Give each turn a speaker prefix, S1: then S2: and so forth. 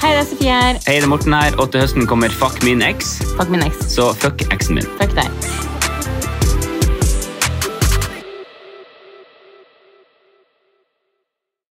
S1: Hei, det er Sofie her.
S2: Hei, det er Morten her, og til høsten kommer Fuck min eks.
S1: Fuck min eks.
S2: Så fuck eksen min.
S1: Fuck deg.